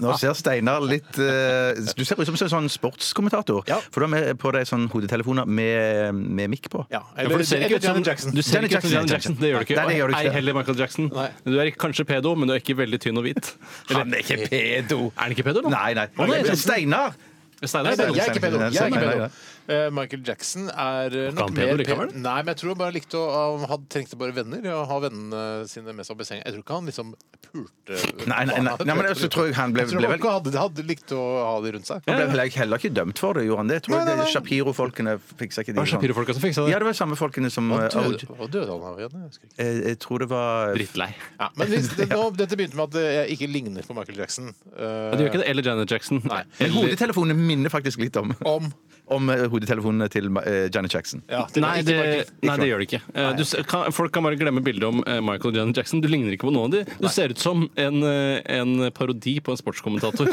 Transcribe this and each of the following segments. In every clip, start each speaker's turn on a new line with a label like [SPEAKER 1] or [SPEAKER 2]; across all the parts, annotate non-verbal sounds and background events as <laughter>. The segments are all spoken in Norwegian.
[SPEAKER 1] Nå ser Steinar litt eh, Du ser ut som en sånn sportskommentator.
[SPEAKER 2] Ja.
[SPEAKER 1] For du har med på deg sånne hodetelefoner med, med mikk på.
[SPEAKER 2] Ja,
[SPEAKER 3] Ja, for
[SPEAKER 2] eller,
[SPEAKER 3] du ser ikke
[SPEAKER 2] eller
[SPEAKER 3] ut som
[SPEAKER 2] Janet Jackson.
[SPEAKER 3] Du ser
[SPEAKER 1] Janet
[SPEAKER 3] ikke ut som
[SPEAKER 1] Jackson,
[SPEAKER 3] Janet Jackson. Det gjør du ikke.
[SPEAKER 1] Nei, det gjør du ikke.
[SPEAKER 3] Ei heller Michael Jackson.
[SPEAKER 2] Nei.
[SPEAKER 3] Du er kanskje pedo, men du er ikke veldig tynn og hvit. Eller-
[SPEAKER 1] Han er ikke pedo!
[SPEAKER 3] Er han ikke pedo, da?
[SPEAKER 1] Nei, nei.
[SPEAKER 3] Å, sånn- nei,
[SPEAKER 1] Steinar!
[SPEAKER 3] Steinar
[SPEAKER 2] Nei, nei,
[SPEAKER 3] er pedo.
[SPEAKER 2] jeg er ikke pedo. Jeg er ikke
[SPEAKER 1] Nei,
[SPEAKER 2] pedo.
[SPEAKER 1] nei,
[SPEAKER 2] Eh, Michael Jackson er eh,
[SPEAKER 3] Var
[SPEAKER 2] nok
[SPEAKER 3] han pedo
[SPEAKER 2] mer
[SPEAKER 3] likevel?
[SPEAKER 2] pedo. Nei, men jeg tror han bare likte å han hadde, trengte bare venner. Og ha vennene sine med seg på senga. Jeg tror ikke han liksom pulte eh,
[SPEAKER 1] Nei, nei, nei. Nei, men så tror jeg han ble-
[SPEAKER 2] Jeg tror
[SPEAKER 1] ble vel-
[SPEAKER 2] nok han hadde, hadde likt å ha de rundt seg.
[SPEAKER 1] Han ble vel heller ikke dømt for det, gjorde han det? Tror
[SPEAKER 2] Nei,
[SPEAKER 1] jeg
[SPEAKER 2] nei,
[SPEAKER 1] det-
[SPEAKER 2] nei.
[SPEAKER 1] Shapiro-folkene fiksa ikke
[SPEAKER 3] Det
[SPEAKER 1] de sånn.
[SPEAKER 3] var Shapiro-folka som fiksa
[SPEAKER 1] Ja,
[SPEAKER 3] det.
[SPEAKER 1] det var samme folkene som
[SPEAKER 2] Hva
[SPEAKER 1] eh, Aud.
[SPEAKER 2] døde, hva døde han av igjen? Jeg husker ikke.
[SPEAKER 1] Eh, Jeg tror det var
[SPEAKER 3] Drittlei.
[SPEAKER 2] Ja, men
[SPEAKER 3] <laughs>
[SPEAKER 2] hvis, det, nå, dette begynte med at eh, jeg ikke ligner på Michael Jackson. Eh,
[SPEAKER 3] Ja, Du gjør ikke det? Eller Janet Jackson.
[SPEAKER 2] Nei.
[SPEAKER 1] Men
[SPEAKER 3] Eller-
[SPEAKER 1] eh, hodetelefonene minner faktisk litt om,
[SPEAKER 2] Om
[SPEAKER 1] om eh, hodetelefonene til eh, Janet Jackson.
[SPEAKER 2] ja, til-
[SPEAKER 3] Nei,
[SPEAKER 2] ikke
[SPEAKER 3] det,
[SPEAKER 2] Michael.
[SPEAKER 3] nei, det gjør det ikke. Eh, Du, ser- kan, folk kan bare glemme bildet om eh, Michael Janet Jackson. Du ligner ikke på noen av de. Du ser ut som en, eh, en parodi på en sportskommentator.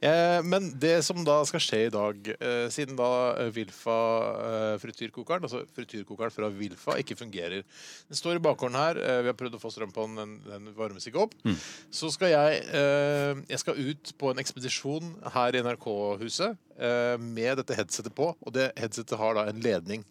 [SPEAKER 2] Eh, men det som da skal skje i dag, eh, siden da eh, Wilfa eh, frityrkokeren, altså frityrkokeren fra Wilfa, ikke fungerer Den står i bakgården her. Eh, vi har prøvd å få strøm på den, den, den varmes ikke opp. Så skal jeg eh, Jeg skal ut på en ekspedisjon her i NRK-huset eh, med dette headsetet på, og det headsetet har da en ledning.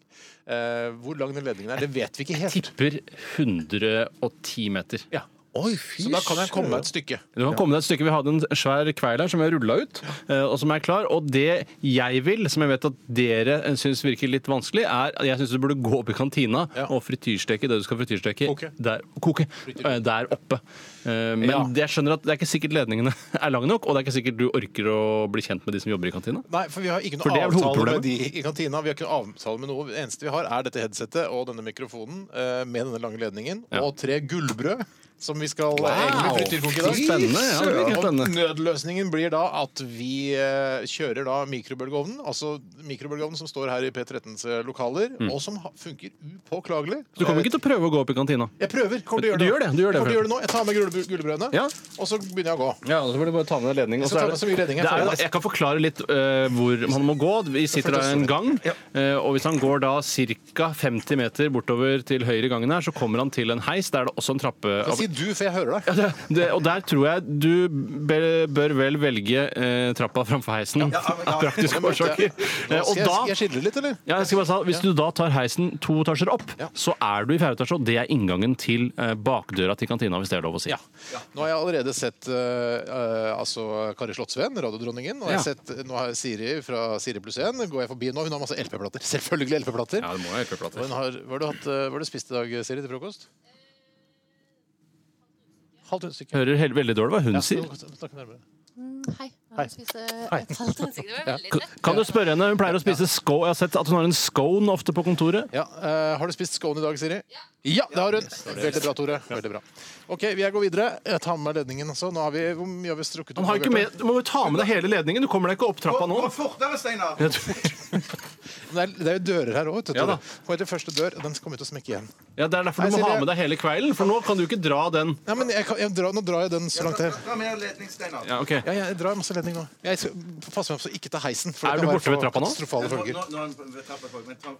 [SPEAKER 2] Eh, hvor lang den ledningen er, det vet vi ikke helt.
[SPEAKER 3] Tipper 110 meter.
[SPEAKER 2] Ja.
[SPEAKER 1] Oi, fy
[SPEAKER 2] Så da kan jeg komme et stykke.
[SPEAKER 3] Du kan komme deg et stykke. Vi hadde en svær kveil her som vi har rulla ut, eh, og som er klar. Og det jeg vil, som jeg vet at dere syns virker litt vanskelig, er at jeg syns du burde gå opp i kantina
[SPEAKER 2] Ja.
[SPEAKER 3] og frityrsteke det du skal frityrsteke
[SPEAKER 2] Koke.
[SPEAKER 3] der, koke, eh, der oppe. Eh, Men
[SPEAKER 2] Ja.
[SPEAKER 3] det- jeg skjønner at det er ikke sikkert ledningene <laughs> er lange nok, og det er ikke sikkert du orker å bli kjent med de som jobber i kantina.
[SPEAKER 2] Nei, for vi har ikke
[SPEAKER 3] For
[SPEAKER 2] noe
[SPEAKER 3] det er vel
[SPEAKER 2] avtale
[SPEAKER 3] hovedproblemet?
[SPEAKER 2] med de i kantina. Vi har ikke noe avtale med noe. Det eneste vi har, er dette headsetet og denne mikrofonen eh, med denne lange ledningen.
[SPEAKER 3] Ja.
[SPEAKER 2] Og tre gullbrød som vi skal wow.
[SPEAKER 3] Wow.
[SPEAKER 2] egentlig frityrkoke i dag.
[SPEAKER 3] Fy Spennende, ja, det virker
[SPEAKER 2] Og
[SPEAKER 3] spennende.
[SPEAKER 2] nødløsningen blir da at vi eh, kjører da mikrobølgeovnen, altså mikrobølgeovnen som står her i P13s lokaler, og som ha- funker upåklagelig. Eh,
[SPEAKER 3] Så Mm. du kommer ikke til å prøve å gå opp i kantina?
[SPEAKER 2] Jeg prøver. Kommer til å gjøre
[SPEAKER 3] Du gjør det, du gjør det,
[SPEAKER 2] Kommer til å gjøre det nå. Jeg tar med gullbrø- gullbrødene,
[SPEAKER 3] Ja.
[SPEAKER 2] og så begynner jeg å gå.
[SPEAKER 3] Ja, så får du bare ta med deg ledning. og
[SPEAKER 2] Jeg skal
[SPEAKER 3] så
[SPEAKER 2] ta
[SPEAKER 3] er
[SPEAKER 2] med så mye ledning jeg
[SPEAKER 3] det er,
[SPEAKER 2] får.
[SPEAKER 3] jo- jeg kan forklare litt eh, hvor man må gå. Vi sitter da i en gang, eh, og hvis han går da ca. 50 meter bortover til høyre i gangen her, så kommer han til en heis. Der er det også en trappe.
[SPEAKER 2] Hva sier du, for jeg hører deg?
[SPEAKER 3] Ja, det, det, og der tror jeg du bør, bør vel velge eh, trappa framfor heisen av praktiske
[SPEAKER 2] Nå skal
[SPEAKER 3] årsaker.
[SPEAKER 2] jeg-
[SPEAKER 3] Eh, og
[SPEAKER 2] Skal jeg,
[SPEAKER 3] da
[SPEAKER 2] jeg skiller litt, eller?
[SPEAKER 3] ja, jeg skal bare si, Hvis du da tar heisen to etasjer opp,
[SPEAKER 2] Ja.
[SPEAKER 3] så er du i fjerde etasje, og det er inngangen til eh, bakdøra til kantina, hvis det er lov å si.
[SPEAKER 2] Nå har jeg allerede sett eh, eh, altså Kari Slottsveen, radiodronningen. Og jeg har
[SPEAKER 3] Ja.
[SPEAKER 2] sett, nå har jeg Siri fra Siri pluss 1. Går jeg forbi nå? Hun har masse LP-plater. <laughs> Selvfølgelig LP-plater.
[SPEAKER 3] det må jeg ikke
[SPEAKER 2] Og hun har- Hva har du, hatt, eh, hva har du spist i dag, Siri, til frokost? Halvt hundestykke.
[SPEAKER 3] Hører helt, veldig dårlig hva hun
[SPEAKER 2] Ja,
[SPEAKER 3] sier.
[SPEAKER 2] snakk- snakk nærmere.
[SPEAKER 4] Hei.
[SPEAKER 2] Hei.
[SPEAKER 4] Jeg spiser eh, et halvt ansikt. Det var veldig
[SPEAKER 3] K-
[SPEAKER 4] lett.
[SPEAKER 3] Kan du spørre henne? Hun pleier å spise scone. Jeg har sett at hun har en scone ofte på kontoret.
[SPEAKER 2] Ja, eh, har du spist scone i dag, Siri? Ja, det har hun. Veldig bra, Tore. Veldig bra. OK, jeg går videre. Jeg tar med meg ledningen. Altså. Nå har vi, hvor mye har vi strukket
[SPEAKER 3] Han har ikke med, du må jo ta med deg hele ledningen. Du kommer deg ikke opp trappa nå.
[SPEAKER 1] fortere, Steinar!
[SPEAKER 2] Men Det er, det er jo dører her òg, vet du.
[SPEAKER 3] Ja
[SPEAKER 2] Tore.
[SPEAKER 3] da.
[SPEAKER 2] Kommer til første dør, og den kommer til å smekke igjen.
[SPEAKER 3] Ja, Det er derfor
[SPEAKER 2] Nei,
[SPEAKER 3] du må
[SPEAKER 2] Silje.
[SPEAKER 3] ha med deg hele kvelden, for nå kan du ikke dra den.
[SPEAKER 2] Nei, men jeg kan, jeg drar, nå drar jeg den så langt jeg
[SPEAKER 1] mer ledning, Steinar.
[SPEAKER 3] Ja, ok.
[SPEAKER 2] ja, ja, jeg drar masse ledning nå. Jeg skal passe meg for å ikke ta heisen. For
[SPEAKER 3] Er
[SPEAKER 2] det
[SPEAKER 3] du
[SPEAKER 2] kan være
[SPEAKER 3] borte ved
[SPEAKER 2] for
[SPEAKER 3] trappa nå?
[SPEAKER 2] Katastrofale følger.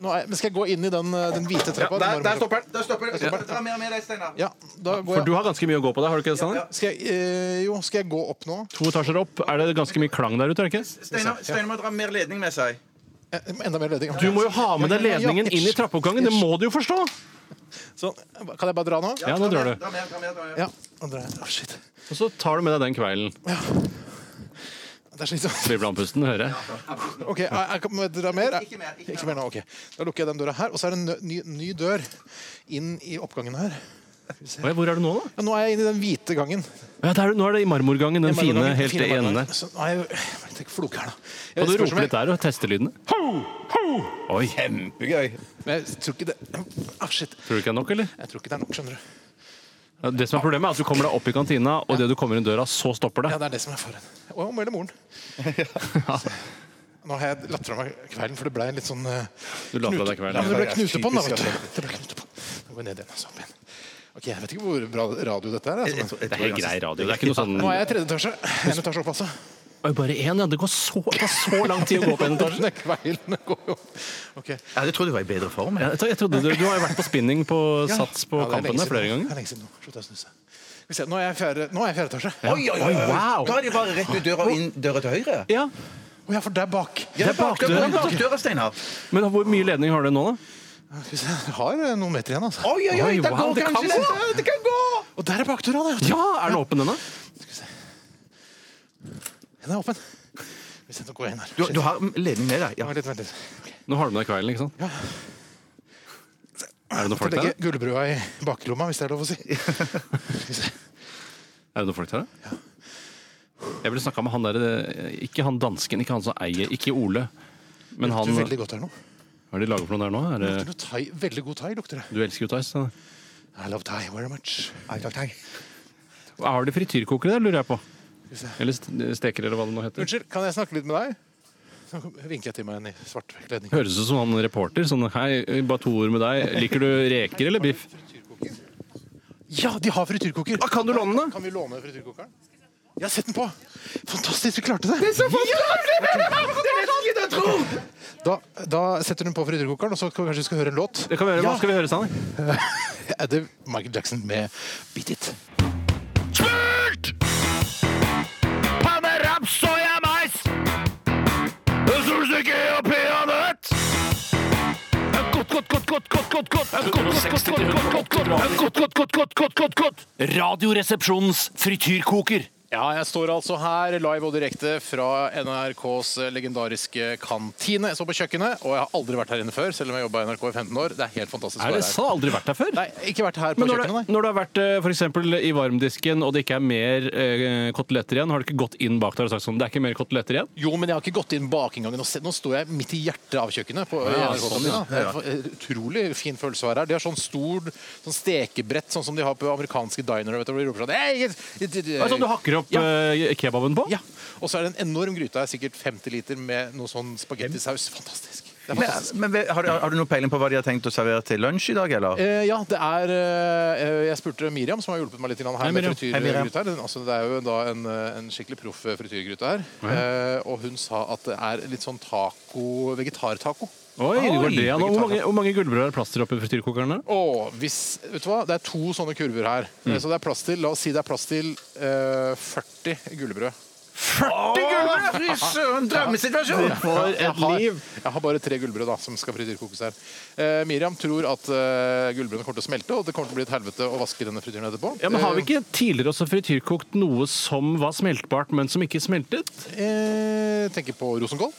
[SPEAKER 2] Nå er, jeg- men skal jeg gå inn i den, eh, den hvite trappa? Den varme trappa?
[SPEAKER 1] den! Der stopper den. Ta mer med deg, Steinar.
[SPEAKER 2] Ja, da går
[SPEAKER 3] For
[SPEAKER 2] jeg.
[SPEAKER 3] du har ganske mye å gå på deg, har du ikke det, Steinar?
[SPEAKER 2] Skal jeg eh, jo, skal jeg gå opp nå?
[SPEAKER 3] To etasjer opp. Er det ganske mye klang der ute? er det ikke?
[SPEAKER 1] Steinar Steinar må dra mer ledning med seg.
[SPEAKER 2] Eh, Enda mer ledning.
[SPEAKER 3] Du må jo ha med deg
[SPEAKER 2] Ja, ja, ja,
[SPEAKER 3] ledningen inn i
[SPEAKER 2] ish,
[SPEAKER 3] trappeoppgangen. Det
[SPEAKER 2] ish.
[SPEAKER 3] må du jo forstå!
[SPEAKER 2] Sånn. Kan jeg bare dra nå?
[SPEAKER 3] Ja, nå drar du.
[SPEAKER 1] Dra mer, dra mer, dra mer.
[SPEAKER 2] Ja. Nå drar jeg. Å, shit.
[SPEAKER 3] Og så tar du med deg den kvelden.
[SPEAKER 2] Det er slitsomt. <laughs>
[SPEAKER 3] Blir blandpusten, hører jeg.
[SPEAKER 2] OK, jeg, jeg kan må jeg dra mer.
[SPEAKER 1] Ikke mer, ikke
[SPEAKER 2] Ikke mer nå, ok. Da lukker jeg den døra her. Og så er det en nø- ny, ny dør inn i oppgangen her.
[SPEAKER 3] Oi, Hvor er du nå, da?
[SPEAKER 2] Ja, nå er jeg inne i den hvite gangen.
[SPEAKER 3] Ja, der, er du- nå er det i marmorgangen, den fine,
[SPEAKER 2] Marmorgangen,
[SPEAKER 3] helt
[SPEAKER 2] fine
[SPEAKER 3] i enden der.
[SPEAKER 2] marmorgangen. Så nå er jeg, jeg tenker flok her, da. Jeg
[SPEAKER 3] Kan du
[SPEAKER 2] spørs om
[SPEAKER 3] rope
[SPEAKER 2] jeg-
[SPEAKER 3] litt der og teste lydene? Oi,
[SPEAKER 1] Kjempegøy.
[SPEAKER 2] Men jeg tror ikke det Ah, shit.
[SPEAKER 3] Tror du ikke det er nok, eller?
[SPEAKER 2] Jeg tror ikke det er nok, skjønner du.
[SPEAKER 3] Ja, Det som er Problemet er at du kommer deg opp i kantina, og det du kommer inn døra, så stopper
[SPEAKER 2] Ja,
[SPEAKER 3] det.
[SPEAKER 2] det er det som er foran. Og om eller
[SPEAKER 3] <laughs>
[SPEAKER 2] moren. Nå har jeg latt fra meg kvelden, for det ble en litt sånn eh,
[SPEAKER 3] Du la fra deg
[SPEAKER 2] Ja, men
[SPEAKER 3] kvelden.
[SPEAKER 2] det ble
[SPEAKER 1] Ja, det er
[SPEAKER 2] knute på den, da.
[SPEAKER 1] typisk,
[SPEAKER 2] vet du. Det ble knute på. Nå går jeg ned igjen. Altså. opp igjen. Ok, Jeg vet ikke hvor bra radio dette er.
[SPEAKER 1] Jeg tror-
[SPEAKER 2] Altså.
[SPEAKER 1] jeg
[SPEAKER 3] Det er
[SPEAKER 1] tror
[SPEAKER 3] helt
[SPEAKER 1] ganske-
[SPEAKER 3] grei radio. Det er ikke noe sånn
[SPEAKER 2] Nå er jeg i tredje etasje. En etasje opp, altså.
[SPEAKER 3] Oi, Bare én, ja. Det går så, det tar så lang tid å gå opp en etasje.
[SPEAKER 2] Denne kvelden går jo opp. Ok.
[SPEAKER 1] Ja, Jeg trodde du var i bedre form. jeg.
[SPEAKER 3] Jeg, jeg trodde du, du har jo vært på spinning på Sats på
[SPEAKER 2] Ja, det er
[SPEAKER 3] Kampen
[SPEAKER 2] lenge
[SPEAKER 3] der
[SPEAKER 2] siden
[SPEAKER 3] flere
[SPEAKER 2] nå.
[SPEAKER 3] ganger.
[SPEAKER 2] Det er lenge siden nå. Slutt å snuse. Skal vi se, nå er jeg i fjerde, nå er jeg i fjerde etasje.
[SPEAKER 1] Oi, oi, oi!
[SPEAKER 3] wow.
[SPEAKER 1] Da er det bare rett ut døra og inn døra til høyre.
[SPEAKER 3] Ja,
[SPEAKER 2] Å ja, for der bak.
[SPEAKER 1] Ja,
[SPEAKER 3] Det er bakdøra.
[SPEAKER 1] bakdøra, bakdøra, Steinar.
[SPEAKER 3] Men hvor mye ledning har du nå, da?
[SPEAKER 2] Skal vi se, jeg har eh, noen meter igjen, altså.
[SPEAKER 1] Oi, oi, oi!
[SPEAKER 3] Oi,
[SPEAKER 1] Det
[SPEAKER 3] wow,
[SPEAKER 1] går
[SPEAKER 3] det kan
[SPEAKER 1] kanskje
[SPEAKER 3] gå.
[SPEAKER 1] Ja, Det kan gå!
[SPEAKER 2] Og der er bakdøra, da. vet du.
[SPEAKER 3] Ja, Er den åpen ennå?
[SPEAKER 2] Den er åpen. Hvis jeg går inn her.
[SPEAKER 1] Du, du har ledning med deg. Ja.
[SPEAKER 2] Vent litt, vent litt.
[SPEAKER 3] Nå har du med deg kvelden, ikke sant? Er det
[SPEAKER 2] Får
[SPEAKER 3] noen folk der?
[SPEAKER 2] legge gullbrua i baklomma, hvis det er lov å si. Skal vi se.
[SPEAKER 3] Er det noen folk der, da? Jeg ville snakka med han derre Ikke han dansken, ikke han som eier Ikke Ole. Men han eh,
[SPEAKER 2] Lukter
[SPEAKER 3] Hva
[SPEAKER 2] veldig godt her nå.
[SPEAKER 3] er det de lager for noe der nå? Er det,
[SPEAKER 2] Lukter noe thai. Veldig god thai lukter det.
[SPEAKER 3] du elsker jo Theis. da.
[SPEAKER 2] I love thai very much.
[SPEAKER 1] Ai, takk, takk.
[SPEAKER 3] Har de frityrkokere der, lurer jeg på?
[SPEAKER 2] vi se.
[SPEAKER 3] Eller st- steker, eller hva det nå heter.
[SPEAKER 2] Unnskyld, kan jeg snakke litt med deg? Så vinker jeg til meg en i svart kledning.
[SPEAKER 3] Høres ut som han reporter. Sånn, hei, bare to ord med deg. Liker du reker eller biff?
[SPEAKER 2] Ja, de har frityrkoker!
[SPEAKER 3] Ah, kan du låne den, da?
[SPEAKER 2] Kan vi låne frityrkokeren? Ja, sett den på! Fantastisk, du klarte det! Da, da setter hun på frityrkokeren, og så kan vi kanskje vi skal høre en låt.
[SPEAKER 3] Det kan vi gjøre. Hva skal vi høre, Sanne?
[SPEAKER 2] Er det Michael Jackson med Beat It?
[SPEAKER 5] Panne, raps, soya, mais Solsikke og peanøtt Godt, godt, godt, godt, godt, godt, godt Godt, godt, godt, godt, godt, godt Godt, godt, godt, godt, godt, godt, godt Radioresepsjonens frityrkoker
[SPEAKER 2] Ja, jeg står altså her live og direkte fra NRKs legendariske kantine. Jeg står på kjøkkenet, og jeg har aldri vært her inne før, selv om jeg jobba i NRK i 15 år. Det er helt fantastisk å
[SPEAKER 3] Er
[SPEAKER 2] være
[SPEAKER 3] det
[SPEAKER 2] her.
[SPEAKER 3] sant? Aldri vært der før?
[SPEAKER 2] Nei, ikke vært her på
[SPEAKER 3] Men når
[SPEAKER 2] kjøkkenet,
[SPEAKER 3] du, når du har vært eh, for eksempel, i varmdisken og det ikke er mer eh, koteletter igjen, har du ikke gått inn bak der og sagt sånn Det er ikke mer koteletter igjen?
[SPEAKER 2] nei. Jo, men jeg har ikke gått inn bakinngangen. og sett- Nå står jeg midt i hjertet av kjøkkenet. På, i NRK
[SPEAKER 3] sånn,
[SPEAKER 2] kantina. Det er en Utrolig fin følelse å være her. De har sånn stor sånn stekebrett, sånn som de har på amerikanske dinere. Vet du, hvor de roper sånn hey, it, it, it,
[SPEAKER 3] Er det sånn du hakker opp
[SPEAKER 2] Ja.
[SPEAKER 3] eh, kebaben på?
[SPEAKER 2] Ja. Og så er det en enorm gryte her, sikkert 50 liter med noe sånn spagettisaus. Fantastisk. Det er
[SPEAKER 1] Men,
[SPEAKER 2] fantastisk.
[SPEAKER 1] men har, du, har du noe peiling på hva de har tenkt å servere til lunsj i dag, eller?
[SPEAKER 2] Eh, ja, det er eh, Jeg spurte Miriam, som har hjulpet meg litt grann her
[SPEAKER 3] Hei,
[SPEAKER 2] med
[SPEAKER 3] Miriam.
[SPEAKER 1] Hei, Miriam.
[SPEAKER 2] frityrgryte. her. Den- Altså, det er jo da en, eh, en skikkelig proff frityrgryte her. Eh, og hun sa at det er litt sånn taco vegetartaco.
[SPEAKER 3] Oi, det går det an. Og Hvor
[SPEAKER 2] vegetar.
[SPEAKER 3] mange, hvor mange gullbrød er det plass til oppi frityrkokeren? der?
[SPEAKER 2] Og hvis, vet du hva? Det er to sånne kurver her.
[SPEAKER 3] Mm.
[SPEAKER 2] Eh, Så det er plass til, la oss si det er plass til eh, 40 gullbrød.
[SPEAKER 1] Fy søren, drømmesituasjon!
[SPEAKER 3] For
[SPEAKER 2] Jeg
[SPEAKER 3] et
[SPEAKER 2] har,
[SPEAKER 3] liv!
[SPEAKER 2] jeg har bare tre gullbrød da, som skal frityrkokes her. Eh, Miriam tror at eh, gullbrødene kommer til å smelte, og det kommer til å bli et helvete å vaske denne frityren etterpå. Eh,
[SPEAKER 3] Ja, men Har vi ikke tidligere også frityrkokt noe som var smeltbart, men som ikke smeltet?
[SPEAKER 2] Eh, tenker på rosenkål.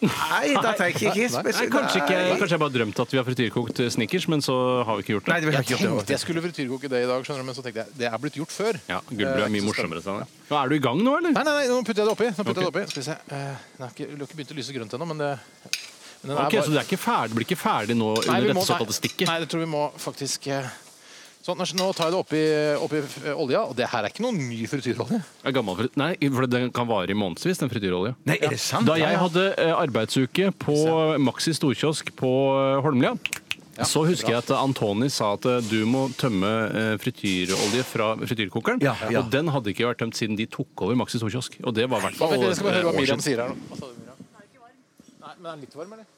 [SPEAKER 1] Nei, da tenker jeg ikke
[SPEAKER 3] Nei,
[SPEAKER 1] spesielt
[SPEAKER 3] Kanskje ikke, kanskje jeg bare drømt at vi har frityrkokt eh, snickers, men så har vi ikke gjort det.
[SPEAKER 1] Nei, det vil jeg
[SPEAKER 2] Jeg
[SPEAKER 1] ikke gjort.
[SPEAKER 2] tenkte
[SPEAKER 1] det.
[SPEAKER 2] jeg skulle frityrkoke det i dag, skjønner du, men så tenkte jeg det er blitt gjort før.
[SPEAKER 3] Ja, Gullbrød
[SPEAKER 2] Eh,
[SPEAKER 3] er mye
[SPEAKER 2] så spennende.
[SPEAKER 3] morsommere. Sånn. Ja, er du i gang nå, eller?
[SPEAKER 2] Nei, nei, nei, nå putter jeg det oppi. Nå putter jeg det oppi. Skal vi se. Eh, Den har ikke, den har ikke begynt å lyse grønt ennå, men det men den
[SPEAKER 3] Ok,
[SPEAKER 2] bare-
[SPEAKER 3] Så det er ikke ferdig, blir ikke ferdig nå
[SPEAKER 2] Nei, vi
[SPEAKER 3] under
[SPEAKER 2] må-
[SPEAKER 3] dette såkalte stikket?
[SPEAKER 2] Nei, det tror vi må faktisk eh, Sånn, Nå tar jeg det oppi, oppi eh, olja, og det her er ikke noen ny frityrolje.
[SPEAKER 3] Ja, gammel frit- Nei, for den kan vare i månedsvis, den frityrolja.
[SPEAKER 1] Nei, er det sant?
[SPEAKER 3] Da jeg hadde eh, arbeidsuke på Maxi storkiosk på eh, Holmlia, så husker jeg at Antoni sa at eh, du må tømme eh, frityrolje fra frityrkokeren.
[SPEAKER 1] Ja, ja.
[SPEAKER 3] Og den hadde ikke vært tømt siden de tok over Maxi storkiosk. Og det var i hvert fall
[SPEAKER 2] Vent, Jeg skal bare høre hva
[SPEAKER 3] eh, år
[SPEAKER 2] Miriam
[SPEAKER 3] siden.
[SPEAKER 2] sier her nå. Hva sa du, Miriam? Nei, men er den litt varm, eller?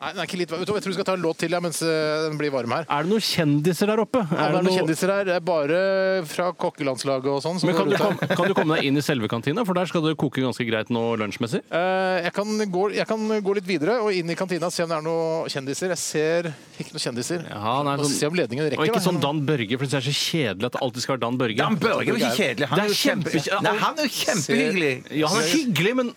[SPEAKER 2] Nei, den er ikke litt varm. Vet du hva, Jeg tror vi skal ta en låt til ja, mens eh, den blir varm her.
[SPEAKER 3] Er det noen kjendiser der oppe?
[SPEAKER 2] Ja,
[SPEAKER 3] Er
[SPEAKER 2] det
[SPEAKER 3] det
[SPEAKER 2] er noen
[SPEAKER 3] noe-
[SPEAKER 2] kjendiser her. Det er bare fra kokkelandslaget og sånn. som
[SPEAKER 3] Men kan du,
[SPEAKER 2] går ut her.
[SPEAKER 3] komme, kan du komme deg inn i selve kantina, for der skal det koke ganske greit nå lunsjmessig?
[SPEAKER 2] Eh, Jeg kan, gå, jeg kan gå litt videre og inn i kantina og se om det er noen kjendiser. Jeg ser ikke noen kjendiser.
[SPEAKER 3] Ja, nei,
[SPEAKER 2] Bare
[SPEAKER 3] sånn-
[SPEAKER 2] se om ledningen rekker.
[SPEAKER 3] Og ikke
[SPEAKER 2] da.
[SPEAKER 3] sånn Dan Børge, for det er så kjedelig at det alltid skal være Dan Børge.
[SPEAKER 1] Dan Børge er jo ikke kjedelig. Han
[SPEAKER 3] Det
[SPEAKER 1] er
[SPEAKER 3] er
[SPEAKER 1] jo kjempe...
[SPEAKER 3] kjempe-
[SPEAKER 1] Nei, han er jo kjempehyggelig.
[SPEAKER 3] Ja, han er hyggelig, men,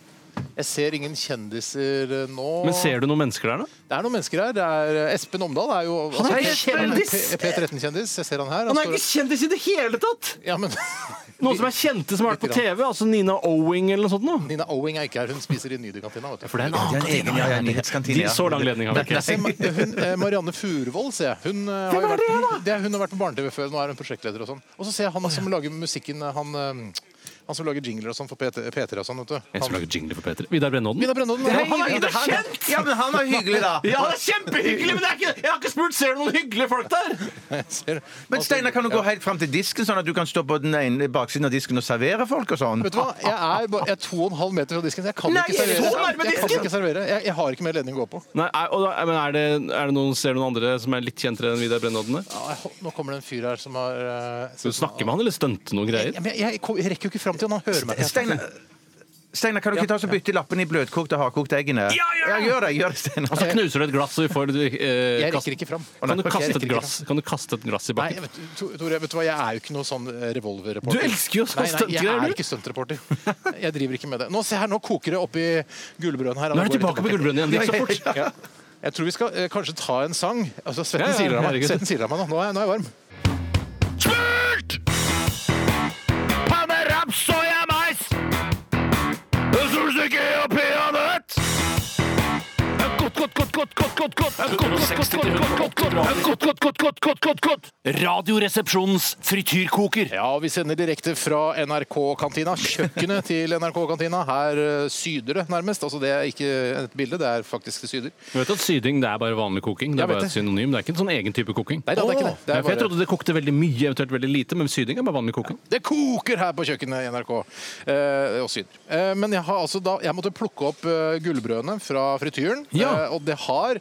[SPEAKER 2] Jeg ser ingen kjendiser eh, nå.
[SPEAKER 3] men ser du noen mennesker der, da?
[SPEAKER 2] Det er noen mennesker her. Det er eh, Espen Omdal er jo
[SPEAKER 3] Han
[SPEAKER 2] altså,
[SPEAKER 3] er ikke kjendis!
[SPEAKER 2] P- P13-kjendis. Jeg ser han her.
[SPEAKER 3] Han er
[SPEAKER 2] står-
[SPEAKER 3] ikke kjendis i det hele tatt!
[SPEAKER 2] ja, men... <laughs>
[SPEAKER 3] Noen som er kjente som har vært på TV, altså Nina Owing eller noe sånt noe.
[SPEAKER 2] Nina Owing er ikke her. Hun spiser i Nydekantina. vet du.
[SPEAKER 3] For det er en annen
[SPEAKER 1] Det er en egen ja, ja,
[SPEAKER 3] De
[SPEAKER 1] nyhetskantine. ja.
[SPEAKER 3] så lang ledning har vi
[SPEAKER 2] Jeg ser
[SPEAKER 3] ikke.
[SPEAKER 2] Ma- hun, eh, Marianne Furvoll, ser jeg. Hun, eh, har jo
[SPEAKER 3] er
[SPEAKER 2] vært,
[SPEAKER 3] det, da?
[SPEAKER 2] hun, det er, hun har vært på barne-TV før. Nå er hun prosjektleder og sånn. Og så ser jeg han som lager musikken eh, Han, eh, han som lager jingler og sånn for PT P3 og sånn, vet du.
[SPEAKER 3] En som
[SPEAKER 2] Han,
[SPEAKER 3] lager jingle for P3. Vidar Brennodden.
[SPEAKER 2] Vidar Brønnodden.
[SPEAKER 1] Nei,
[SPEAKER 2] han-
[SPEAKER 1] men
[SPEAKER 3] er jo
[SPEAKER 1] han-
[SPEAKER 3] kjent!
[SPEAKER 1] Ja, men han er hyggelig, da. <laughs>
[SPEAKER 3] Ja, det er kjempehyggelig, men det er ikke, jeg har ikke spurt ser du noen hyggelige folk der.
[SPEAKER 2] jeg ser.
[SPEAKER 1] Men Steinar, kan du gå helt fram til disken, sånn at du kan stå på den ene baksiden av disken og servere folk og sånn?
[SPEAKER 2] Vet du hva? Jeg er, bare, jeg er to og en halv meter fra disken. så Jeg kan
[SPEAKER 1] Nei,
[SPEAKER 2] ikke
[SPEAKER 1] er du
[SPEAKER 2] servere.
[SPEAKER 1] så nærme
[SPEAKER 2] Jeg, kan
[SPEAKER 1] disken?
[SPEAKER 2] ikke servere. Jeg, jeg har ikke mer ledning å gå på.
[SPEAKER 3] Nei, er, og da, men er det, er det noen, ser du noen andre som er litt kjentere enn Vidar Brennodden? der?
[SPEAKER 2] Ja, jeg, nå kommer det en fyr her som har eh,
[SPEAKER 3] Skal du snakke med han, eller stunte noen
[SPEAKER 2] Jeg,
[SPEAKER 3] greier?
[SPEAKER 2] jeg, jeg, kom- jeg rekker jo ikke fram til han. Han hører meg ikke.
[SPEAKER 1] Steinar, Steinar, kan du ikke ta og bytte lappene i bløtkokte og hardkokte eggene?
[SPEAKER 5] Ja, ja, ja.
[SPEAKER 1] gjør det, gjør det, Steinar.
[SPEAKER 3] Så knuser du et glass, så vi får eh,
[SPEAKER 2] Jeg
[SPEAKER 3] kast-
[SPEAKER 2] rekker ikke fram.
[SPEAKER 3] Kan
[SPEAKER 2] Jeg
[SPEAKER 3] du, kaste
[SPEAKER 2] rekker
[SPEAKER 3] et
[SPEAKER 2] ikke
[SPEAKER 3] glass? kan du kaste et glass i
[SPEAKER 2] Nei,
[SPEAKER 3] bakken?
[SPEAKER 2] vet, du- Tor- Tore, vet du hva, jeg er jo ikke noe sånn eh, revolverreporter.
[SPEAKER 3] Du elsker jo sånn
[SPEAKER 2] Nei, nei, Jeg
[SPEAKER 3] stuntgreier, du.
[SPEAKER 2] er ikke stuntreporter. Jeg driver ikke med det. Nå, se her, nå koker det oppi gullbrønnen her.
[SPEAKER 3] Nå er du tilbake på gullbrønnen igjen. Det gikk så fort.
[SPEAKER 2] Ja. Jeg tror vi skal eh, kanskje ta en sang. Altså,
[SPEAKER 3] Ja,
[SPEAKER 2] svetten
[SPEAKER 3] ja,
[SPEAKER 2] siler av meg.
[SPEAKER 3] herregud.
[SPEAKER 2] Svetten siler av meg nå. Nå er, jeg- nå er jeg varm.
[SPEAKER 5] Smurt! Panne, raps, soya, mais! Solstykke og peanøtt! Godt, godt, godt, godt, godt, godt, godt, godt, godt, godt, godt, godt, godt, godt, godt. Radioresepsjonens frityrkoker.
[SPEAKER 2] Ja, vi sender direkte fra NRK-kantina, kjøkkenet til NRK-kantina. Her eh, syder det nærmest. Altså, det er ikke et bilde, det er faktisk det syder.
[SPEAKER 3] Du vet at Syding det er bare vanlig koking? Det
[SPEAKER 2] Jeg
[SPEAKER 3] er
[SPEAKER 2] vet
[SPEAKER 3] bare
[SPEAKER 2] det.
[SPEAKER 3] et synonym. Det er ikke en sånn egen type koking.
[SPEAKER 2] Nei, da, det er ikke det. Det er
[SPEAKER 3] Ja, for Jeg
[SPEAKER 2] bare-
[SPEAKER 3] trodde det kokte veldig mye, eventuelt veldig lite, men syding er bare vanlig koking.
[SPEAKER 2] Det koker her på kjøkkenet i NRK. Eh, og syder. Eh, men jeg har altså da Jeg måtte plukke opp eh, gullbrødene fra frityren.
[SPEAKER 3] Ja.
[SPEAKER 2] Eh, og det har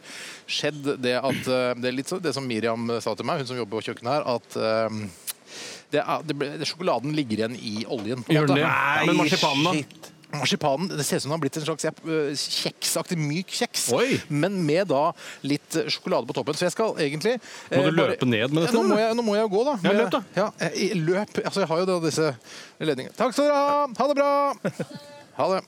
[SPEAKER 2] skjedd det at eh, Det er litt sånn det som Miriam sa til meg, hun som jobber på kjøkkenet her, at eh, det er, det ble, sjokoladen ligger igjen i oljen. på en
[SPEAKER 3] Gjør
[SPEAKER 2] måte.
[SPEAKER 3] den det? Ja, men marsipanen, da?
[SPEAKER 2] Marsipanen det ser ut som den har blitt en slags ja, øh, kjeksaktig myk kjeks,
[SPEAKER 3] Oi.
[SPEAKER 2] men med da litt øh, sjokolade på toppen. Så jeg skal egentlig eh,
[SPEAKER 3] Må du løpe ned med dette,
[SPEAKER 2] Ja, Nå må
[SPEAKER 3] eller?
[SPEAKER 2] jeg, Eh, nå må jeg jo gå, da.
[SPEAKER 3] Ja,
[SPEAKER 2] Men-
[SPEAKER 3] løp da.
[SPEAKER 2] Ja, jeg, jeg- løp. Altså, jeg har jo da disse ledningene. Takk skal dere ha! Ha det bra! Ha det.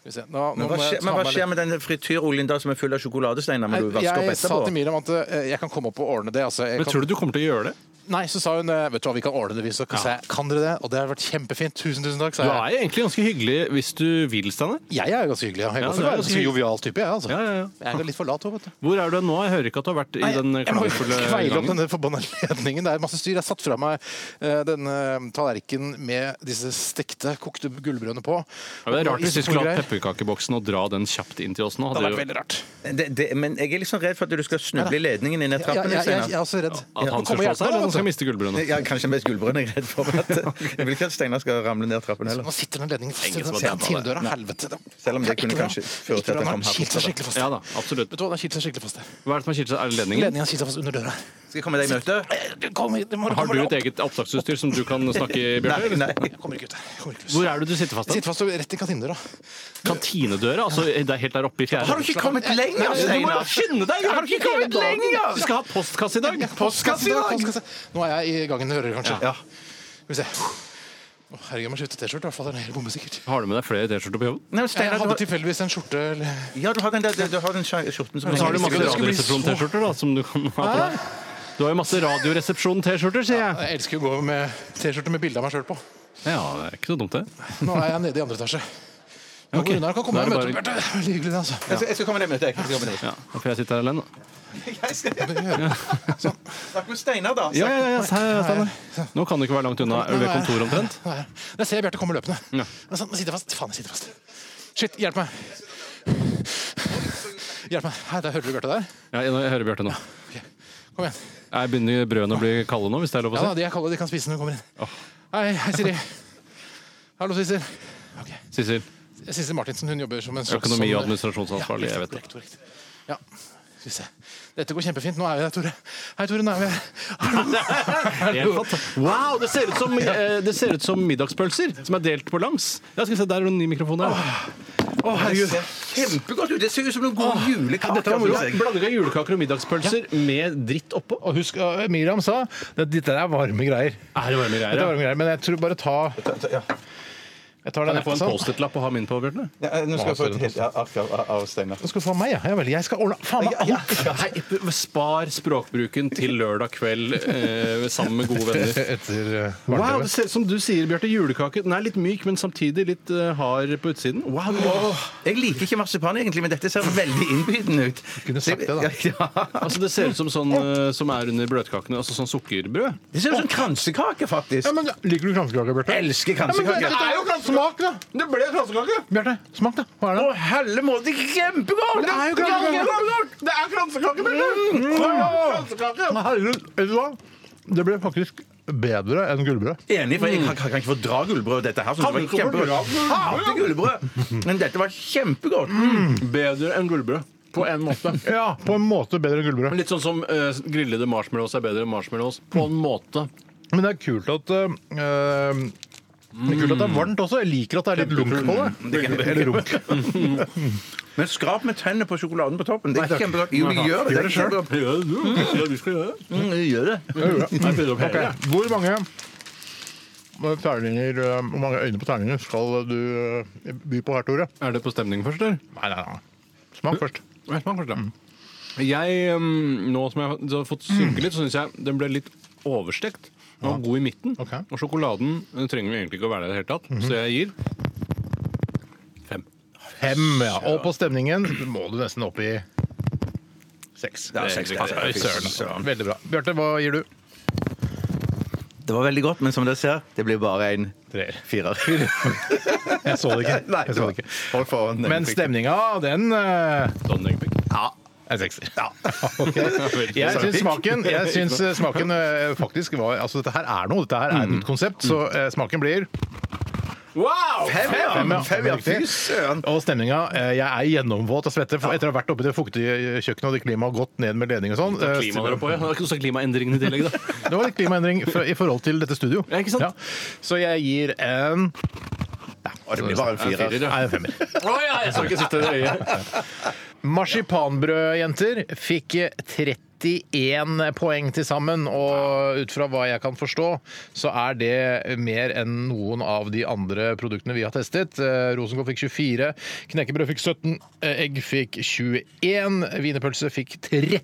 [SPEAKER 2] Skal vi se. Nå, nå
[SPEAKER 1] Men hva
[SPEAKER 2] må jeg
[SPEAKER 1] skjer,
[SPEAKER 2] ta
[SPEAKER 1] men hva
[SPEAKER 2] meg litt-
[SPEAKER 1] skjer med den frityroljen da som er full av sjokolade, Steinar? Må du vaske opp
[SPEAKER 2] Jeg sa til
[SPEAKER 1] etterpå?
[SPEAKER 2] Miriam at eh, jeg kan komme opp og ordne det. Altså, jeg
[SPEAKER 3] Men
[SPEAKER 2] kan...
[SPEAKER 3] tror du du kommer til å gjøre det?
[SPEAKER 2] Nei, så sa hun eh, vet du hva, vi kan ordne det. Vi, så kan, sa jeg, kan dere det? Og det har vært kjempefint. Tusen, tusen takk.
[SPEAKER 3] Du
[SPEAKER 2] Sa jeg.
[SPEAKER 3] er jo egentlig ganske hyggelig hvis du vil, Steinar.
[SPEAKER 2] Jeg er jo ganske hyggelig. ja. Jeg
[SPEAKER 3] Ja,
[SPEAKER 2] går for å være en
[SPEAKER 3] du er ganske
[SPEAKER 2] ganske
[SPEAKER 3] hyggelig.
[SPEAKER 2] jovial type. Jeg, altså.
[SPEAKER 3] Ja, ja, ja.
[SPEAKER 2] jeg er litt for lat òg, vet du.
[SPEAKER 3] Hvor er du nå? Jeg hører ikke at du har vært i den
[SPEAKER 2] Nei, jeg må jo
[SPEAKER 3] klagefulle
[SPEAKER 2] kveile opp
[SPEAKER 3] gangen.
[SPEAKER 2] denne forbanna ledningen. Det er masse styr. Jeg satt fra meg eh, denne tallerkenen med disse stekte, kokte gullbrødene på.
[SPEAKER 3] Ja, det er rart hvis vi skulle
[SPEAKER 2] Isopor-greier.
[SPEAKER 3] hatt pepperkakeboksen og dra den kjapt inn til oss nå.
[SPEAKER 2] Det hadde vært
[SPEAKER 3] Hadde jo
[SPEAKER 2] veldig rart.
[SPEAKER 1] Det, det, men jeg er litt sånn redd for at du skal snuble i ledningen inn i
[SPEAKER 2] Jeg,
[SPEAKER 1] trappen.
[SPEAKER 2] jeg, jeg, jeg
[SPEAKER 1] Steinar.
[SPEAKER 2] er også redd.
[SPEAKER 3] at han skal slå seg, eller at han skal miste gullbrødene.
[SPEAKER 1] Ja, kanskje mest gullbrønn jeg er redd for.
[SPEAKER 3] <laughs>
[SPEAKER 1] At, jeg vil ikke at Steinar skal ramle ned trappen heller.
[SPEAKER 2] Nå sitter den ledningen fast i
[SPEAKER 3] Ingen som har
[SPEAKER 2] den
[SPEAKER 3] dempa det.
[SPEAKER 2] tindøra. Helvete. da.
[SPEAKER 1] Selv om det
[SPEAKER 2] Ikke
[SPEAKER 1] kunne
[SPEAKER 2] bra.
[SPEAKER 1] kanskje føre
[SPEAKER 2] Ikke
[SPEAKER 1] til at den
[SPEAKER 2] bra. Den
[SPEAKER 1] kom
[SPEAKER 2] har kilt seg
[SPEAKER 1] herfra.
[SPEAKER 2] skikkelig fast.
[SPEAKER 3] Ja Mm. da,
[SPEAKER 2] Vet
[SPEAKER 3] absolutt.
[SPEAKER 2] du hva, den har kilt seg skikkelig fast.
[SPEAKER 3] Hva er det som har skilt seg? Er det ledningen?
[SPEAKER 2] Ledningen har kilt seg fast under døra.
[SPEAKER 1] Skal jeg komme deg i møte?
[SPEAKER 2] Kom hit, må
[SPEAKER 3] Har
[SPEAKER 2] komme
[SPEAKER 3] Eh, du
[SPEAKER 2] opp.
[SPEAKER 3] et eget opptaksutstyr som du
[SPEAKER 2] <laughs>
[SPEAKER 3] kan snakke i, Bjarte?
[SPEAKER 1] Nei,
[SPEAKER 3] eller?
[SPEAKER 1] nei.
[SPEAKER 2] Jeg kommer ikke ut. jeg kommer ikke ut.
[SPEAKER 3] Hvor er det du sitter fast?
[SPEAKER 2] Jeg
[SPEAKER 3] da?
[SPEAKER 2] sitter fast og rett i kantinedøra.
[SPEAKER 3] Kantinedøra? Altså, det er helt der oppe i fjerde?
[SPEAKER 1] Har du ikke kommet lenger,
[SPEAKER 3] Du må da
[SPEAKER 1] Steinar?
[SPEAKER 3] skynde deg!
[SPEAKER 1] Har du ikke kommet lenger?
[SPEAKER 3] Vi skal ha postkasse i dag!
[SPEAKER 1] Postkasse i dag!
[SPEAKER 2] Postkasse. Nå er jeg i gangen og hører, kanskje.
[SPEAKER 1] Ja.
[SPEAKER 2] Skal vi se. Å, herregud, jeg må skifte T-skjorte. i hvert fall. Den er helt bombesikkert.
[SPEAKER 3] Har du med deg flere T-skjorter på jobben?
[SPEAKER 1] Nei, men
[SPEAKER 2] Jeg
[SPEAKER 1] Steinar, du
[SPEAKER 2] hadde
[SPEAKER 1] har-
[SPEAKER 2] tilfeldigvis en skjorte eller
[SPEAKER 1] ja, du har den der du har den skjorten som
[SPEAKER 3] Og så har du masse
[SPEAKER 2] Jeg visste ikke at det skulle bli så-
[SPEAKER 3] Radioresepsjon-T-skjorter da, som du kan ha på deg. Du har jo masse Radioresepsjon-T-skjorter, sier jeg.
[SPEAKER 2] Jeg elsker jo å gå med T-skjorte med bilde av meg sjøl på.
[SPEAKER 3] Ja, det er ikke så dumt, det.
[SPEAKER 2] Nå er jeg nede i andre etasje. Nå
[SPEAKER 3] Ok.
[SPEAKER 2] går Runar kan komme
[SPEAKER 3] Da er
[SPEAKER 2] og
[SPEAKER 3] det
[SPEAKER 2] møte opp, Bjarte. Veldig hyggelig, det, altså.
[SPEAKER 1] Jeg skal- jeg skal komme deg i møte. jeg. Jeg skal komme deg i møte.
[SPEAKER 3] Ja, da får jeg sitte her alene. da.
[SPEAKER 1] Snakk med Steinar, da.
[SPEAKER 3] Ja, ja, ja, her, Steinar. Nå kan du ikke være langt unna ved kontoret omtrent.
[SPEAKER 2] Nå er jeg- Jeg ser Bjarte kommer løpende.
[SPEAKER 3] Ja.
[SPEAKER 2] Men sånn, nå sitter jeg fast. Faen, jeg sitter fast. Shit, hjelp meg. Hjelp meg. Hei, der hører du Bjarte der.
[SPEAKER 3] Ja, jeg jeg hører Bjarte nå.
[SPEAKER 2] Kom igjen.
[SPEAKER 3] Jeg begynner brødene å bli kalde nå, hvis det er lov å
[SPEAKER 2] Ja da,
[SPEAKER 3] si.
[SPEAKER 2] de er kalde, de kan spise når du kommer inn. Hei, hei, Siri. Hallo, Sissel. Ok.
[SPEAKER 3] Sissel,
[SPEAKER 2] Sissel Martinsen hun jobber som en slags
[SPEAKER 3] økonomi- og
[SPEAKER 2] sånn-
[SPEAKER 3] administrasjonsansvarlig, jeg vet det.
[SPEAKER 2] korrekt, korrekt. Ja. Skal vi se. Dette går kjempefint. Nå er vi der, Tore. Hei, Tore. Nå er vi
[SPEAKER 3] <laughs>
[SPEAKER 2] her.
[SPEAKER 3] Helt fantastisk. Wow, det ser, ut som, eh, det ser ut som middagspølser som er delt på langs. Ja, skal vi se, Der er det en ny mikrofon. der.
[SPEAKER 1] Å, herregud. Det ser Kjempegodt ut! Det ser ut som noen gode julekaker.
[SPEAKER 3] Dette var moro.
[SPEAKER 1] synes jeg.
[SPEAKER 3] Blanding av julekaker og middagspølser med dritt oppå.
[SPEAKER 2] Og husk, uh, Miriam sa at dette er varme greier.
[SPEAKER 3] Er det varme
[SPEAKER 2] Dette er
[SPEAKER 3] greier?
[SPEAKER 2] varme greier, Men jeg tror bare ta Jeg tar
[SPEAKER 3] Kan
[SPEAKER 2] den
[SPEAKER 3] jeg få en
[SPEAKER 2] etterpå.
[SPEAKER 3] Post-It-lapp å ha min på, Bjørne?
[SPEAKER 1] Ja, eh, nå skal jeg få et helt ark av, av- av Steinar.
[SPEAKER 2] sånn. Nå skal du få meg, ja. Ja vel. Jeg skal ordne Faen meg alt!
[SPEAKER 3] Spar språkbruken til lørdag kveld eh, sammen med gode venner.
[SPEAKER 2] Etter uh,
[SPEAKER 3] Wow,
[SPEAKER 2] barne-tv.
[SPEAKER 3] det ser ut som du sier, Bjarte. Julekake. Den er litt myk, men samtidig litt eh, hard på utsiden. Wow,
[SPEAKER 1] Jeg liker ikke marsipan egentlig, men dette ser veldig innbydende ut.
[SPEAKER 2] kunne sagt det, da.
[SPEAKER 1] Ja, ja.
[SPEAKER 3] Altså, det ser ut som sånn eh, som er under bløtkakene. Altså sånn sukkerbrød.
[SPEAKER 1] Det ser ut som kransekake, faktisk.
[SPEAKER 2] Ja, men Liker du kransekake, Bjarte?
[SPEAKER 1] Jeg elsker
[SPEAKER 2] Ja, men
[SPEAKER 1] kransekake.
[SPEAKER 2] det er jo kransekake. Smak, da!
[SPEAKER 1] Det ble kransekake!
[SPEAKER 2] Bjarte, smak, da. Hva er det?
[SPEAKER 1] Å, helle måte, kjempegodt!
[SPEAKER 2] Det er jo kransekake.
[SPEAKER 3] Mm.
[SPEAKER 1] Det er kransekake, Bjarte!
[SPEAKER 2] Herregud, vet du hva?
[SPEAKER 6] det ble faktisk bedre enn gullbrød.
[SPEAKER 1] Enig, for jeg kan, kan ikke fordra gullbrød. Dette her synes jeg var kjempegodt. Hater gullbrød! Men dette var kjempegodt.
[SPEAKER 3] Bedre enn gullbrød. På en måte.
[SPEAKER 6] Ja, på en måte bedre enn gullbrød.
[SPEAKER 3] Litt sånn som eh, grillede marshmallows er bedre enn marshmallows. På en måte.
[SPEAKER 6] Men det er kult at øh, øh, det er kult at det er varmt også. Jeg liker at det er litt lunk på Mm. det. Eller runk.
[SPEAKER 1] Men skrap med tennene på sjokoladen på toppen. Det er kjempegodt. Jo, vi gjør det.
[SPEAKER 6] Gjør det selv.
[SPEAKER 1] kjempegodt.
[SPEAKER 3] Gjør det, Ja, du skal gjøre det.
[SPEAKER 1] Mm, vi gjør det.
[SPEAKER 3] Jeg begynner opp hele.
[SPEAKER 6] Ok, <laughs> Hvor mange øh, terninger, øh, hvor mange øyne på terninger skal du øh, by på her, Tore?
[SPEAKER 3] Er det på stemning først, eller?
[SPEAKER 6] Nei, nei, nei. Smak først.
[SPEAKER 3] Jeg smaker det. Jeg, um, nå som jeg har- har fått synke litt, så syns jeg den ble litt overstekt. Den var god i midten.
[SPEAKER 6] Ok.
[SPEAKER 3] Og sjokoladen eh, trenger jo egentlig ikke å være der i det hele tatt, så jeg gir fem.
[SPEAKER 6] Fem, ja. Og på stemningen må du nesten opp i seks.
[SPEAKER 1] Ja, seks
[SPEAKER 3] Pass på,
[SPEAKER 1] Søren,
[SPEAKER 3] søren.
[SPEAKER 1] altså.
[SPEAKER 6] Veldig bra. Bjarte, hva gir du?
[SPEAKER 1] Det var veldig godt, men som dere ser, det blir bare en
[SPEAKER 6] Treer.
[SPEAKER 1] firer.
[SPEAKER 6] <laughs> Jeg så det ikke.
[SPEAKER 1] Nei,
[SPEAKER 6] Jeg så det ikke.
[SPEAKER 1] Hold foran den.
[SPEAKER 6] Men stemninga, den øh,
[SPEAKER 3] Sånn, egentlig.
[SPEAKER 6] Ja. En sekser. Jeg syns
[SPEAKER 1] Veldig
[SPEAKER 6] smaken, jeg syns eh, smaken eh, faktisk var Altså, dette her er noe. Dette her er et nytt konsept, så eh, smaken blir
[SPEAKER 3] Wow!
[SPEAKER 1] Fem,
[SPEAKER 6] Fem, ja.
[SPEAKER 1] ja! Fem, ja. Fy
[SPEAKER 6] Riktig.
[SPEAKER 1] søren.
[SPEAKER 6] Og stemninga eh, Jeg er gjennomvåt av svette for etter å ha vært oppe i det fuktige eh, kjøkkenet og det klimaet har gått ned med ledning og sånn. eh,
[SPEAKER 3] Klima der oppe, ja. <laughs> Det er ikke noe sånn klimaendringene i tillegg, da.
[SPEAKER 6] Det var litt klimaendring fra- i forhold til dette studio.
[SPEAKER 3] Ja, ikke sant?
[SPEAKER 6] Så jeg gir en
[SPEAKER 1] Og det blir bare en firer.
[SPEAKER 3] Firer, ja.
[SPEAKER 6] Nei, en femmer.
[SPEAKER 3] <laughs> Å ja, jeg så ikke sitte i øyet.
[SPEAKER 6] Marsipanbrød, jenter, fikk 31 poeng til sammen, og ut fra hva jeg kan forstå, så er det mer enn noen av de andre produktene vi har testet. Eh, Rosenkål fikk 24, knekkebrød fikk 17, eh, egg fikk 21, wienerpølse fikk 30,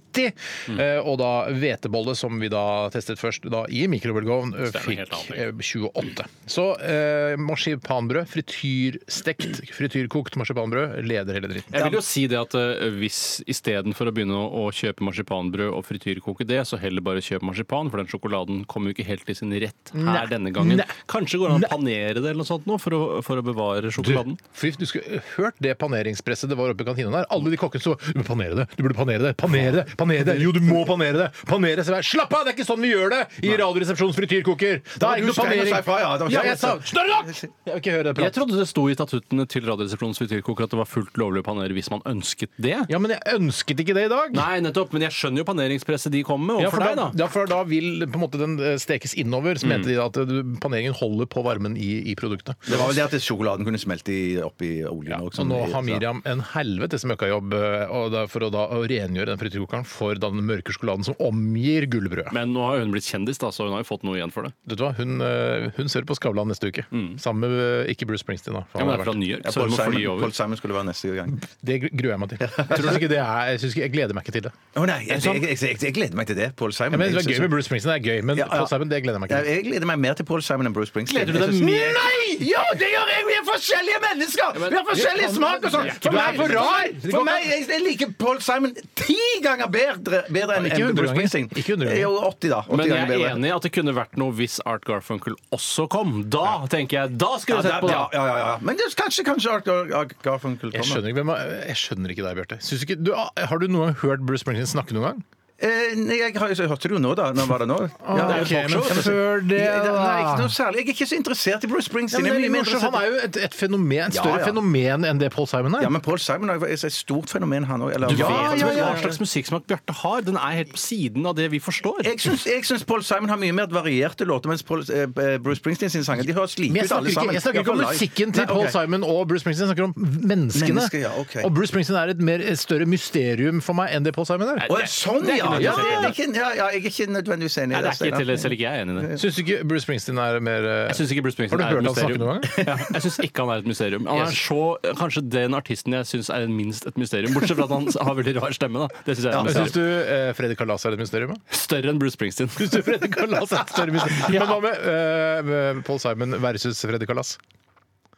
[SPEAKER 3] Mm.
[SPEAKER 6] eh, og da hvetebolle, som vi da testet først da i mikrobølgeovn, eh,
[SPEAKER 3] Stemmer, helt
[SPEAKER 6] fikk
[SPEAKER 3] annet,
[SPEAKER 6] eh, 28. Så eh, marsipanbrød, frityrstekt, frityrkokt marsipanbrød, leder hele dritten.
[SPEAKER 3] Jeg vil jo si det at eh, hvis istedenfor å begynne å, å kjøpe marsipanbrød og frityrkoke det, så heller bare kjøp marsipan, for den sjokoladen kommer jo ikke helt til sin rett her denne gangen.
[SPEAKER 6] Nei.
[SPEAKER 3] Kanskje går det an å panere det eller noe sånt nå, for å, for å bevare sjokoladen?
[SPEAKER 6] Fy, du skulle eh, hørt det paneringspresset det var oppe i kantina der. Alle de kokkene så Du burde panere det, du burde panere det, panere det, panere det. Jo, du må panere det! Panere så jeg, Slapp av, det er ikke sånn vi gjør det i Radioresepsjonens frityrkoker! Da
[SPEAKER 1] Du
[SPEAKER 6] er ikke noe
[SPEAKER 1] skal jo
[SPEAKER 6] panering.
[SPEAKER 1] si fra, ja. Da-
[SPEAKER 6] Ja, jeg sa Snørr nok! Jeg vil ikke høre det
[SPEAKER 3] Jeg
[SPEAKER 6] pratet.
[SPEAKER 3] trodde det sto i statuttene til Radioresepsjonens frityrkoker at det var fullt lovlig å panere hvis man ønsket det.
[SPEAKER 6] Ja, men jeg ønsket ikke det i dag.
[SPEAKER 3] Nei, nettopp, men jeg skjønner jo paneringspresset de kommer med. Og
[SPEAKER 6] Ja,
[SPEAKER 3] for deg, da.
[SPEAKER 6] Ja, for da vil på en måte den eh, stekes innover. Så mente de at eh, du- paneringen holder på varmen i, i produktet.
[SPEAKER 1] Det var vel det at sjokoladen kunne smelte i- oppi oljen. og
[SPEAKER 6] Så
[SPEAKER 1] sånn.
[SPEAKER 6] nå har Miriam en helvetes møkkajobb eh, og det er for å da å rengjøre den frityrkokeren for da den mørke sjokoladen som omgir gullbrødet.
[SPEAKER 3] Men nå har hun blitt kjendis, da, så hun har jo fått noe igjen for det.
[SPEAKER 6] Vet du hva, hun, eh, hun ser på Skavlan neste uke. Sammen med eh, ikke Bruce Springsteen, da. for
[SPEAKER 3] Ja, men
[SPEAKER 6] han har
[SPEAKER 3] det er fra
[SPEAKER 6] vært-
[SPEAKER 3] New York,
[SPEAKER 1] Mm. Ja,
[SPEAKER 3] så
[SPEAKER 1] Paul
[SPEAKER 3] hun må fly
[SPEAKER 1] Simon, Paul
[SPEAKER 3] over.
[SPEAKER 1] Simon skulle være neste gang.
[SPEAKER 6] det gr- gruer jeg
[SPEAKER 1] <laughs>
[SPEAKER 6] meg til. Jeg, tror ikke det er, jeg, synes ikke, jeg gleder meg ikke til det.
[SPEAKER 1] Å nei, jeg, jeg, jeg, jeg, jeg gleder meg til det. Paul Simon.
[SPEAKER 6] Jeg mener,
[SPEAKER 1] Jeg
[SPEAKER 6] det er
[SPEAKER 1] synes-
[SPEAKER 6] gøy med Bruce Springsteen, det er gøy, men
[SPEAKER 1] Ja, ja.
[SPEAKER 6] Paul Simon, det gleder jeg meg
[SPEAKER 1] Ja,
[SPEAKER 6] ikke til.
[SPEAKER 1] jeg gleder meg mer til Paul Simon enn Bruce Springsteen.
[SPEAKER 3] Gleder du deg
[SPEAKER 1] Jeg synes-
[SPEAKER 3] mer?
[SPEAKER 1] Nei! Jo, det gjør jeg! Vi er forskjellige mennesker! Vi har forskjellig smak og sånn! For
[SPEAKER 6] Du er
[SPEAKER 1] meg
[SPEAKER 6] for rar!
[SPEAKER 1] For meg, jeg, jeg liker Paul Simon ti ganger bedre, bedre enn
[SPEAKER 6] Ikke
[SPEAKER 1] enn
[SPEAKER 6] 100
[SPEAKER 1] Bruce
[SPEAKER 6] ganger.
[SPEAKER 1] Springsteen.
[SPEAKER 6] Ikke 100 ganger.
[SPEAKER 1] Jo, 80, da. 80
[SPEAKER 3] Men jeg
[SPEAKER 1] ganger bedre.
[SPEAKER 3] er enig i at det kunne vært noe hvis Art Garfunkel også kom. Da tenker jeg, da skulle
[SPEAKER 1] Ja,
[SPEAKER 3] jeg
[SPEAKER 1] da-
[SPEAKER 3] sett på det!
[SPEAKER 1] ja, ja, ja, ja. Men det, er kanskje, kanskje Art Gar- Gar- Garfunkel
[SPEAKER 6] Jeg
[SPEAKER 1] kommer.
[SPEAKER 6] skjønner ikke, hvem, er- jeg skjønner ikke deg, Bjarte. Syns du ikke- du- ah, Har du noen gang hørt Bruce Springsteen snakke noen gang?
[SPEAKER 1] Eh, nei, jeg, har- jeg hørte det jo nå, da. Når var det nå? Ja,
[SPEAKER 6] ok,
[SPEAKER 1] det er jo talkshow,
[SPEAKER 6] men
[SPEAKER 1] så-
[SPEAKER 6] før det,
[SPEAKER 1] Ja, det- Nei,
[SPEAKER 6] da.
[SPEAKER 1] ikke noe særlig. Jeg er ikke så interessert i Bruce
[SPEAKER 6] Ja,
[SPEAKER 1] Springsteen.
[SPEAKER 6] men
[SPEAKER 1] Jeg er
[SPEAKER 6] det er
[SPEAKER 1] mye
[SPEAKER 6] litt
[SPEAKER 1] mer
[SPEAKER 6] morsomt.
[SPEAKER 1] interessert-
[SPEAKER 6] Han er jo et, et fenomen, et
[SPEAKER 1] Ja,
[SPEAKER 6] større
[SPEAKER 1] ja.
[SPEAKER 6] fenomen enn det Paul Simon er.
[SPEAKER 1] Ja, men Paul Simon er jo et stort fenomen, han òg.
[SPEAKER 3] Du
[SPEAKER 6] Ja,
[SPEAKER 3] vet
[SPEAKER 6] ja,
[SPEAKER 3] vel
[SPEAKER 6] ja.
[SPEAKER 3] hva slags musikksmak Bjarte har? Den er helt på siden av det vi forstår.
[SPEAKER 1] Jeg syns, jeg syns Paul Simon har mye mer varierte låter, mens Paul, eh, Bruce Springsteen sine sanger De høres like
[SPEAKER 6] Men jeg
[SPEAKER 1] ut, alle
[SPEAKER 6] snakker, ikke,
[SPEAKER 1] sammen.
[SPEAKER 6] jeg snakker ikke om
[SPEAKER 1] Iallfall live.
[SPEAKER 6] musikken til
[SPEAKER 1] Nei,
[SPEAKER 6] Paul
[SPEAKER 1] ok.
[SPEAKER 6] Simon og Bruce Springsteen, jeg snakker om menneskene.
[SPEAKER 1] Mennesker, ja, ok.
[SPEAKER 6] Og Bruce Springsteen er et, mer, et større mysterium for meg enn det Paul Simon
[SPEAKER 1] Å,
[SPEAKER 6] er.
[SPEAKER 1] ja, sånn, ja! ja, det, det er ikke, ja, ja! Jeg er ikke nødvendigvis enig
[SPEAKER 3] Nei,
[SPEAKER 1] i
[SPEAKER 3] det er ikke til,
[SPEAKER 1] Steinar.
[SPEAKER 3] selv ikke jeg er enig i det.
[SPEAKER 6] Syns du ikke Bruce Springsteen er mer eh,
[SPEAKER 3] Jeg syns ikke Bruce Springsteen
[SPEAKER 6] Har
[SPEAKER 3] er
[SPEAKER 6] du
[SPEAKER 3] et
[SPEAKER 6] hørt han snakke
[SPEAKER 3] mysterium.
[SPEAKER 6] noen gang?
[SPEAKER 3] Ja, jeg syns ikke han er et mysterium. Han er så, kanskje den artisten jeg syns er minst et mysterium. Bortsett fra at han har veldig rar stemme, da. Det syns jeg er et
[SPEAKER 6] Syns
[SPEAKER 3] mysterium.
[SPEAKER 6] du eh, Freddy Kalas er et mysterium? <laughs> da?
[SPEAKER 3] Større enn Bruce Springsteen.
[SPEAKER 6] Syns du Freddy Kalas er et større mysterium? Men hva med eh, med Paul Simon versus Freddy Kalas?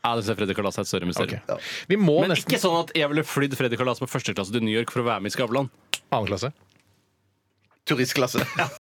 [SPEAKER 3] Ja, det syns jeg Freddy Kalas er et større mysterium.
[SPEAKER 6] Ok. Vi må
[SPEAKER 3] Men
[SPEAKER 6] nesten
[SPEAKER 3] ikke sånn at jeg ville flydd Freddy Kalas på første klasse til New York for å være med i Skavlan.
[SPEAKER 6] Annen klasse.
[SPEAKER 1] Turistklasse.